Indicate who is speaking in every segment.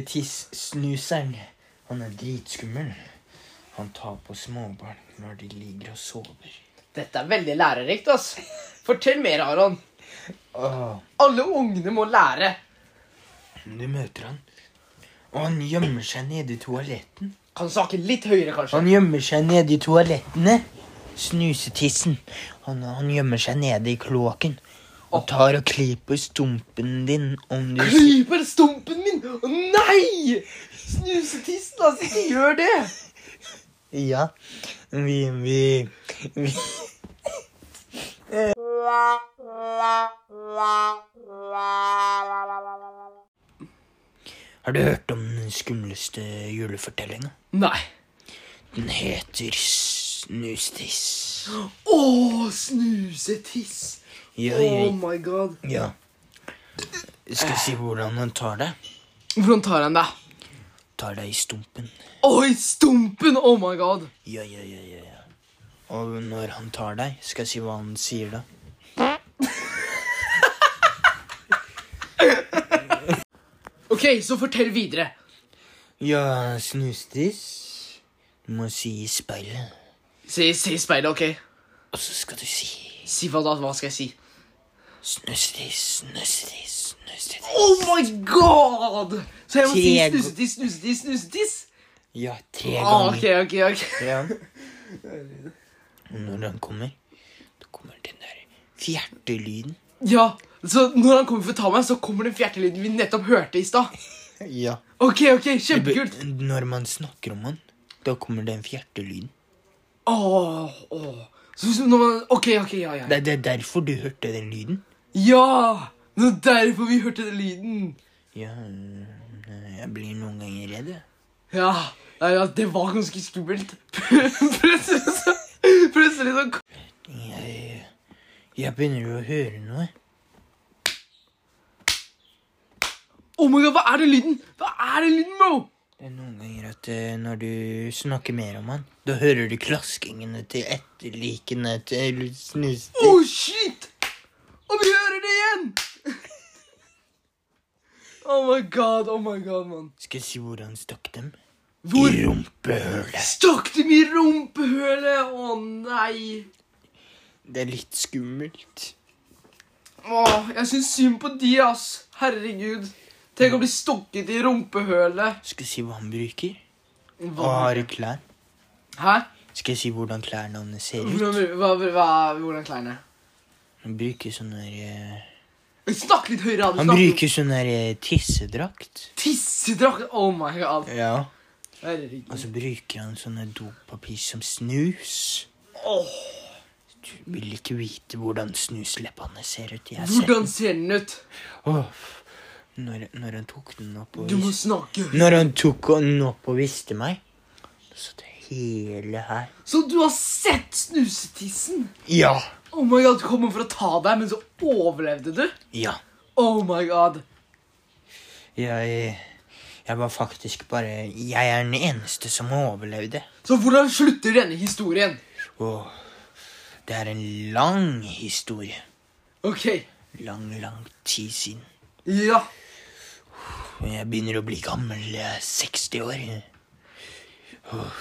Speaker 1: Juletissnuseren. Han er dritskummel. Han tar på småbarn når de ligger og sover.
Speaker 2: Dette er veldig lærerikt, ass. Fortell mer, Aron.
Speaker 1: Åh,
Speaker 2: Alle ungene må lære.
Speaker 1: Ah, du møter han, og han gjemmer seg nede i toaletten.
Speaker 2: Kan du snakke litt høyere, kanskje?
Speaker 1: Han gjemmer seg nede i toalettene. Snusetissen. Han, han gjemmer seg nede i kloakken og tar og klipper stumpen din om du sier
Speaker 2: Klyper stumpen min! Å nei! Snusetissen, ass. Ikke gjør det.
Speaker 1: Ja. Vi Vi, vi. Har du hørt om den skumleste julefortellinga?
Speaker 2: Nei.
Speaker 1: Den heter Snustiss.
Speaker 2: Å, snusetiss.
Speaker 1: Ja, ja,
Speaker 2: Oh my god.
Speaker 1: ja. Skal jeg si hvordan han tar deg?
Speaker 2: Hvordan tar han deg?
Speaker 1: Tar deg i stumpen.
Speaker 2: Oi, stumpen! Oh my god.
Speaker 1: Ja, ja, ja, ja. ja. Og når han tar deg, skal jeg si hva han sier da?
Speaker 2: Ok, så fortell videre.
Speaker 1: Ja, snustiss. Du må si i speilet.
Speaker 2: Se, se i speilet, ok.
Speaker 1: Og så skal du si
Speaker 2: Si hva da? Hva skal jeg si?
Speaker 1: snustiss, snustiss, snustiss.
Speaker 2: Oh my god! Så jeg må si
Speaker 1: Tre-
Speaker 2: snusetiss, snusetiss, snusetiss?
Speaker 1: Ja, tre
Speaker 2: Ah,
Speaker 1: ganger.
Speaker 2: ok, ok, ok.
Speaker 1: Ja. Og når han kommer, da kommer den der fjertelyden.
Speaker 2: Ja, så når han kommer for å ta meg, så kommer den fjertelyden vi nettopp hørte i stad.
Speaker 1: Ja.
Speaker 2: Ok, ok, kjempekult.
Speaker 1: Når man snakker om han, da kommer den fjertelyden.
Speaker 2: Åh, åh. Så hvis- når man, ok, ok, ja, ja.
Speaker 1: Det, det er derfor du hørte den lyden.
Speaker 2: Ja! Det er derfor vi hørte den lyden.
Speaker 1: Ja, øh, jeg blir noen ganger redd, jeg.
Speaker 2: Ja, ja, ja, det var ganske skummelt. Plutselig så, plutselig så
Speaker 1: Jeg, jeg begynner å høre noe.
Speaker 2: Oh my god, hva er den lyden? Hva er den lyden, bro?
Speaker 1: Det er noen ganger at eh, når du snakker mer om han, da hører du klaskingene til etterlikene til snusen.
Speaker 2: Oh shit! Og vi hører det igjen! Oh my god, oh my god, mann.
Speaker 1: Skal jeg si hvor han stakk dem?
Speaker 2: Hvor
Speaker 1: I rumpehølet.
Speaker 2: stakk de meg i rumpehølet? Å nei.
Speaker 1: Det er litt skummelt.
Speaker 2: Åh, jeg syns synd på de, ass. Herregud. Tenk å bli stukket i rumpehølet.
Speaker 1: Skal jeg si hva han bruker? Og
Speaker 2: Hva?
Speaker 1: har i klær?
Speaker 2: Hæ?
Speaker 1: Skal jeg si hvordan klærne hans ser ut?
Speaker 2: Hvordan, hva, hva, hvordan klærne?
Speaker 1: Han bruker sånn der eh,
Speaker 2: Snakk litt høyere. Adam,
Speaker 1: Han
Speaker 2: snakk litt-
Speaker 1: bruker sånn der eh, tissedrakt.
Speaker 2: Tissedrakt! Oh my god.
Speaker 1: Ja. Og
Speaker 2: Herregud.
Speaker 1: så bruker han sånne dopapir som snus.
Speaker 2: Åh,
Speaker 1: Du vil ikke vite hvordan snusleppene ser ut. Jeg ser
Speaker 2: hvordan ser den ut?
Speaker 1: Åh, når, når han tok den opp og
Speaker 2: Du må
Speaker 1: vis-
Speaker 2: snakke.
Speaker 1: Når han tok den opp og visste meg, så det hele her
Speaker 2: Så du har sett snusetissen?
Speaker 1: Ja.
Speaker 2: Oh my god, du kom for å ta deg, men så overlevde du?
Speaker 1: Ja.
Speaker 2: Oh my god.
Speaker 1: Jeg Jeg var faktisk bare Jeg er den eneste som overlevde.
Speaker 2: Så hvordan slutter denne historien?
Speaker 1: Og det er en lang historie.
Speaker 2: Ok,
Speaker 1: Lang, lang tid siden.
Speaker 2: ja.
Speaker 1: Og Jeg begynner å bli gammel. Jeg er 60 år. Åh.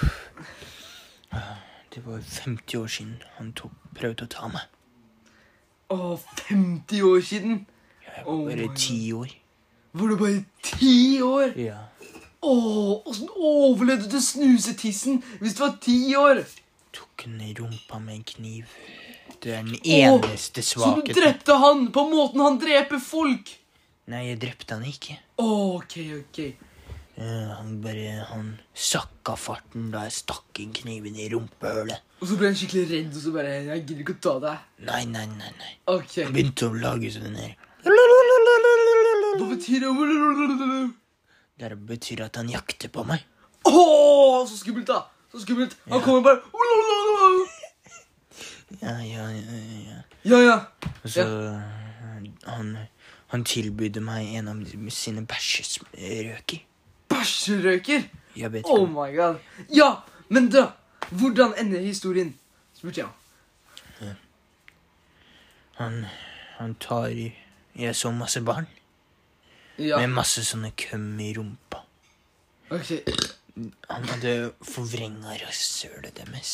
Speaker 1: Det var 50 år siden han tok, prøvde å ta meg.
Speaker 2: Å, 50 år siden.
Speaker 1: Jeg
Speaker 2: Oh
Speaker 1: var
Speaker 2: my
Speaker 1: bare
Speaker 2: God.
Speaker 1: ti år.
Speaker 2: Var du bare 10 år?
Speaker 1: Ja.
Speaker 2: Å, åssen overlevde du snusetissen hvis du var 10 år?
Speaker 1: Tok han i rumpa med en kniv. Det er den
Speaker 2: Åh,
Speaker 1: eneste
Speaker 2: Så du
Speaker 1: svakheten.
Speaker 2: drepte han på måten han dreper folk?
Speaker 1: Nei, jeg drepte han ikke.
Speaker 2: Ok, ok.
Speaker 1: Eh, Han bare Han sakka farten da jeg stakk inn kniven i rumpehullet.
Speaker 2: Og så ble han skikkelig redd, og så bare Jeg gidder ikke å ta deg.
Speaker 1: Nei, nei, nei. nei.
Speaker 2: Ok.
Speaker 1: Han begynte å lage sånn her.
Speaker 2: Hva betyr det?
Speaker 1: Det betyr at han jakter på meg.
Speaker 2: Å, så skummelt, da! Så skummelt. Han kommer bare
Speaker 1: Ja, ja, ja, ja.
Speaker 2: Ja, ja.
Speaker 1: Og så Han, han tilbydde meg en av sine bæsjesrøker.
Speaker 2: Bæsjerøker.
Speaker 1: Jeg vet
Speaker 2: Oh
Speaker 1: ikke om
Speaker 2: my god. Ja, men da Hvordan ender historien? spurte jeg.
Speaker 1: han, han tar Jeg så masse barn.
Speaker 2: Ja.
Speaker 1: med masse sånne køm i rumpa.
Speaker 2: Ok.
Speaker 1: Han hadde forvrenga rasshølet deres.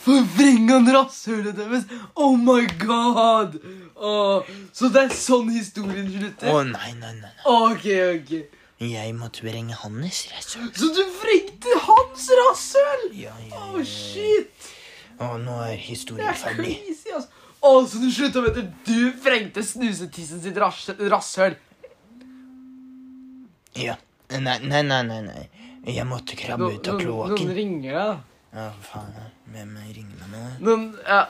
Speaker 2: Forvrengende rasshølet deres! Oh my god! Åh, så det er sånn historien
Speaker 1: Å,
Speaker 2: slutter?
Speaker 1: nei, nei, nei.
Speaker 2: Ok, ok.
Speaker 1: nei. Jeg måtte vrenge hans rasshøl.
Speaker 2: Så du vrengte hans rasshøl?
Speaker 1: Ja, ja,
Speaker 2: Åh,
Speaker 1: ja, ja.
Speaker 2: shit!
Speaker 1: Å, nå er
Speaker 2: Det
Speaker 1: historien
Speaker 2: er
Speaker 1: ferdig.
Speaker 2: crazy, altså. Åh, så du slutta med at du vrengte snusetissen sitt ras rasshøl?
Speaker 1: Ja. Nei, nei, nei, nei. nei. Jeg måtte krabbe ut av kloakken.
Speaker 2: noen ringer deg, da.
Speaker 1: Ja, faen. Hvem ringer meg nå?
Speaker 2: Noen, ja.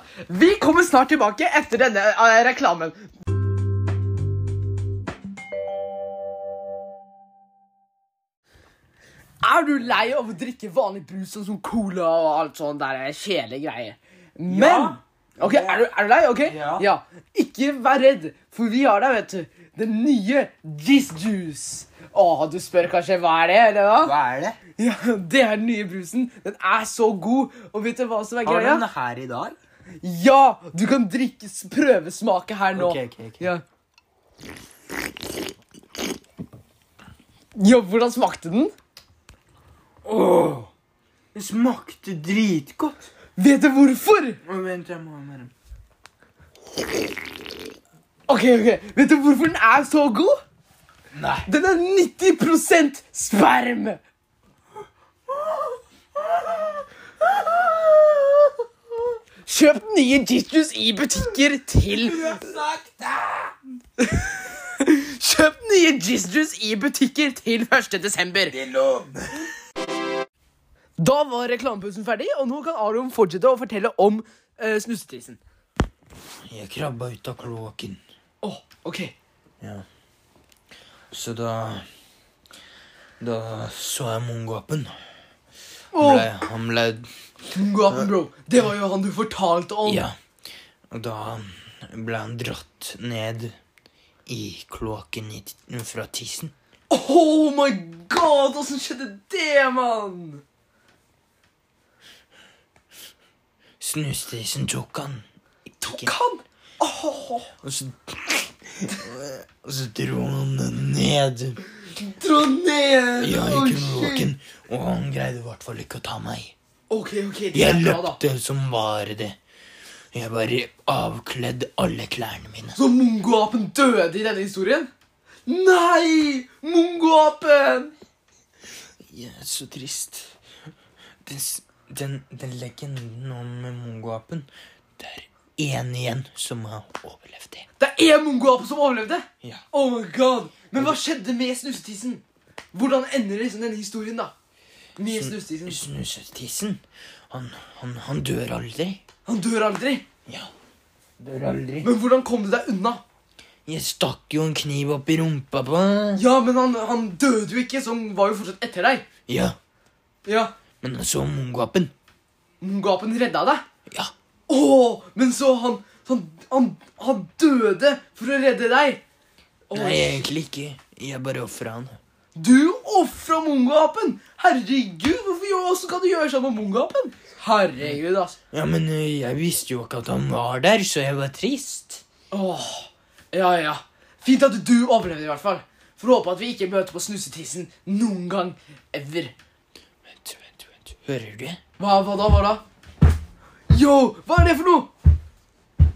Speaker 2: Vi kommer snart tilbake etter denne eh, reklamen. Er du lei av å drikke vanlig brus sånn som cola og alt sånn der eh, kjedelige greier? Men
Speaker 3: Ja.
Speaker 2: Ok, er du, er du lei? Ok?
Speaker 3: Ja.
Speaker 2: Ikke vær redd, for vi har deg, vet du. Den nye Jizz Juice. Å, du spør kanskje hva er det, eller hva?
Speaker 3: Hva er det?
Speaker 2: Ja, Det er den nye brusen. Den er så god. Og vet du hva som er
Speaker 3: Har du
Speaker 2: greia?
Speaker 3: den her i dag?
Speaker 2: Ja! Du kan drikke s- prøvesmake her nå.
Speaker 3: Ok, ok, ok.
Speaker 2: Ja. ja, hvordan smakte den?
Speaker 3: Åh, det smakte dritgodt.
Speaker 2: Vet du hvorfor?
Speaker 3: Å, Vent, jeg må ha mer.
Speaker 2: Ok, ok. Vet du hvorfor den er så god?
Speaker 1: Nei.
Speaker 2: Den er 90 sperm! Kjøp nye Jitus i butikker til Kjøp nye Jistrus i butikker til 1. desember. Da var reklamepausen ferdig, og nå kan Aron fortsette å fortelle om uh, snusetrisen.
Speaker 1: Jeg krabba ut av kloakken.
Speaker 2: Åh, ok.
Speaker 1: Ja. Så da Da så jeg mongoapen. Han
Speaker 2: Åh,
Speaker 1: ble, han ble
Speaker 2: Mungapen, bro. Det var jo han du fortalte om.
Speaker 1: Ja. Og da ble han dratt ned i kloakken i, fra tissen.
Speaker 2: Oh my god, åssen skjedde det, mann?
Speaker 1: Snustissen tok han.
Speaker 2: Tok
Speaker 1: Ikke-
Speaker 2: han? Åh,
Speaker 1: Og så Og så dro han den ned
Speaker 2: dra ned!
Speaker 1: ja,
Speaker 2: Åh,
Speaker 1: i
Speaker 2: shit.
Speaker 1: kloakken. Og han greide i hvert fall ikke å ta meg.
Speaker 2: Ok, ok, det
Speaker 1: Jeg
Speaker 2: er bra, da.
Speaker 1: løpte som bare det. Jeg bare avkledde alle klærne mine.
Speaker 2: Så mongoapen døde i denne historien? Nei! Mongoapen!
Speaker 1: Jeg er så trist. Den, s- den, den legenden om mongoapen Det er én igjen som har overlevd det.
Speaker 2: Det er én mongoape som overlevde!
Speaker 1: Ja.
Speaker 2: Oh my god! Men hva skjedde med snusetissen? Hvordan ender liksom denne historien, da? Med snusetissen.
Speaker 1: Snusetissen. Han, han, han dør aldri.
Speaker 2: Han dør aldri.
Speaker 1: Ja. Dør aldri.
Speaker 2: Men hvordan kom du deg unna?
Speaker 1: Jeg stakk jo en kniv opp i rumpa på han.
Speaker 2: Ja, men han, han døde jo ikke, så han var jo fortsatt etter deg.
Speaker 1: Ja.
Speaker 2: Ja,
Speaker 1: Men så mongoapen.
Speaker 2: Mongoapen redda deg.
Speaker 1: Ja.
Speaker 2: Åh, men så han, han, han, han døde for å redde deg. Åh,
Speaker 1: Nei, egentlig ikke. Jeg bare ofra han.
Speaker 2: Du ofra mongoapen! Herregud, hvorfor gjør- hvordan kan du gjøre sånn med mongoapen? Herregud, altså.
Speaker 1: Ja, men ø, jeg visste jo ikke at han var der, så jeg var trist.
Speaker 2: Åh, ja, ja. Fint at du overlevde i hvert fall. Får håpe at vi ikke møter på snusetissen noen gang. Ever.
Speaker 1: Vent, vent, vent. Hører du?
Speaker 2: Hva, hva da, hva da? Yo, hva er det for noe?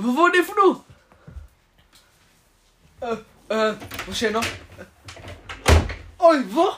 Speaker 2: Hva var det for noe? Eh, eh, hva skjer nå? Oi, hva?